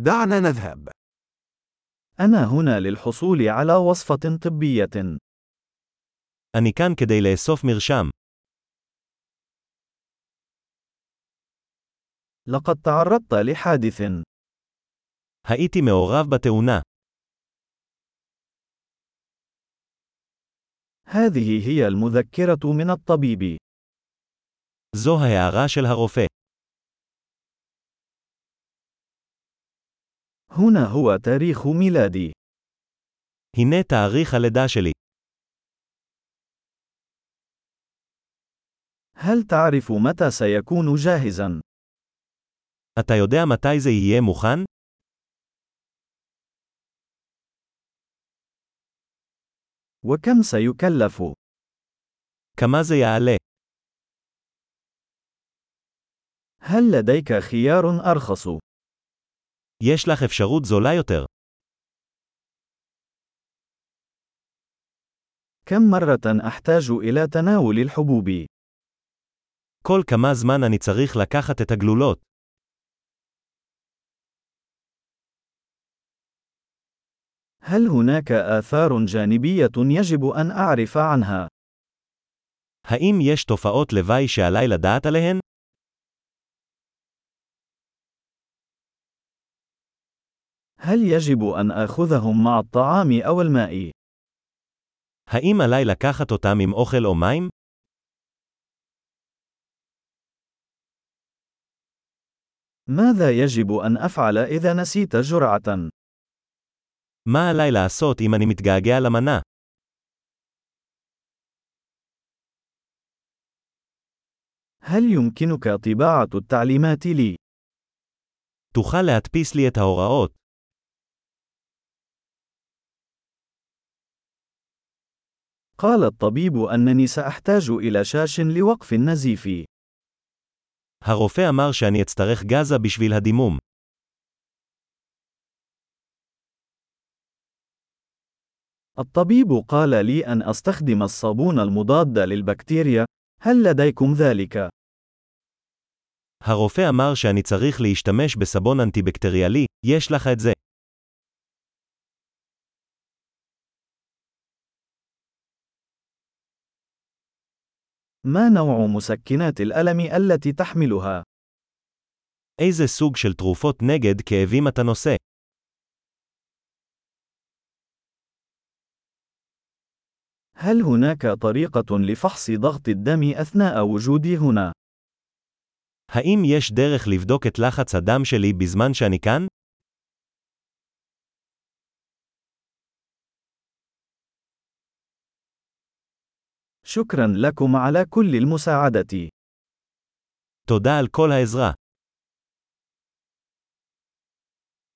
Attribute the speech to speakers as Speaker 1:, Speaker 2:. Speaker 1: دعنا نذهب.
Speaker 2: أنا هنا للحصول على وصفة طبية.
Speaker 3: אני כאן כדי לאסוף מרשם.
Speaker 2: لقد تعرضت لحادث.
Speaker 3: הייתי מעורב בתאונה.
Speaker 2: هذه هي المذكرة من الطبيب.
Speaker 3: זו ההערה של הרופא.
Speaker 2: هنا هو تاريخ ميلادي.
Speaker 3: הנה תאריך הלידה שלי.
Speaker 2: هل تعرف متى سيكون جاهزا؟
Speaker 3: אתה יודע מתי זה יהיה מוכן?
Speaker 2: وكم سيكلف؟
Speaker 3: כמה זה יעלה?
Speaker 2: هل لديك خيار أرخص؟
Speaker 3: יש לך אפשרות זולה יותר.
Speaker 2: كم مرة أحتاج إلى تناول الحبوب؟
Speaker 3: כל כמה זמן אני צריך לקחת את הגלולות.
Speaker 2: هل هناك آثار جانبية يجب أن أعرف عنها؟
Speaker 3: האם יש תופעות לוואי שעליי לדעת עליהן?
Speaker 2: هل يجب أن آخذهم مع الطعام أو الماء؟
Speaker 3: האם עליי לקחת אותם עם אוכל או מים?
Speaker 2: ماذا يجب أن أفعل إذا نسيت جرعة؟
Speaker 3: מה עליי לעשות אם אני מתגעגע למנה?
Speaker 2: هل يمكنك طباعة التعليمات لي؟
Speaker 3: תוכל להדפיס לי את ההוראות.
Speaker 2: قال الطبيب أنني سأحتاج إلى شاش لوقف النزيف.
Speaker 3: הרופא אמר שאני אצטרך גזה בשביל הדימום.
Speaker 2: الطبيب قال لي أن أستخدم الصابون المضاد للبكتيريا. هل لديكم ذلك؟
Speaker 3: הרופא אמר שאני צריך להשתמש בסבון אנטיבקטריאלי, יש לך את זה.
Speaker 2: ما نوع مسكنات الألم التي تحملها؟
Speaker 3: איזה סוג של תרופות נגד כאבים אתה נושא?
Speaker 2: هل هناك طريقة لفحص ضغط الدم أثناء وجودي هنا؟
Speaker 3: האם יש דרך לבדוק את לחץ הדם שלי בזמן שאני כאן?
Speaker 2: شكرا لكم على كل المساعدة.
Speaker 3: תודה על כל העזרה.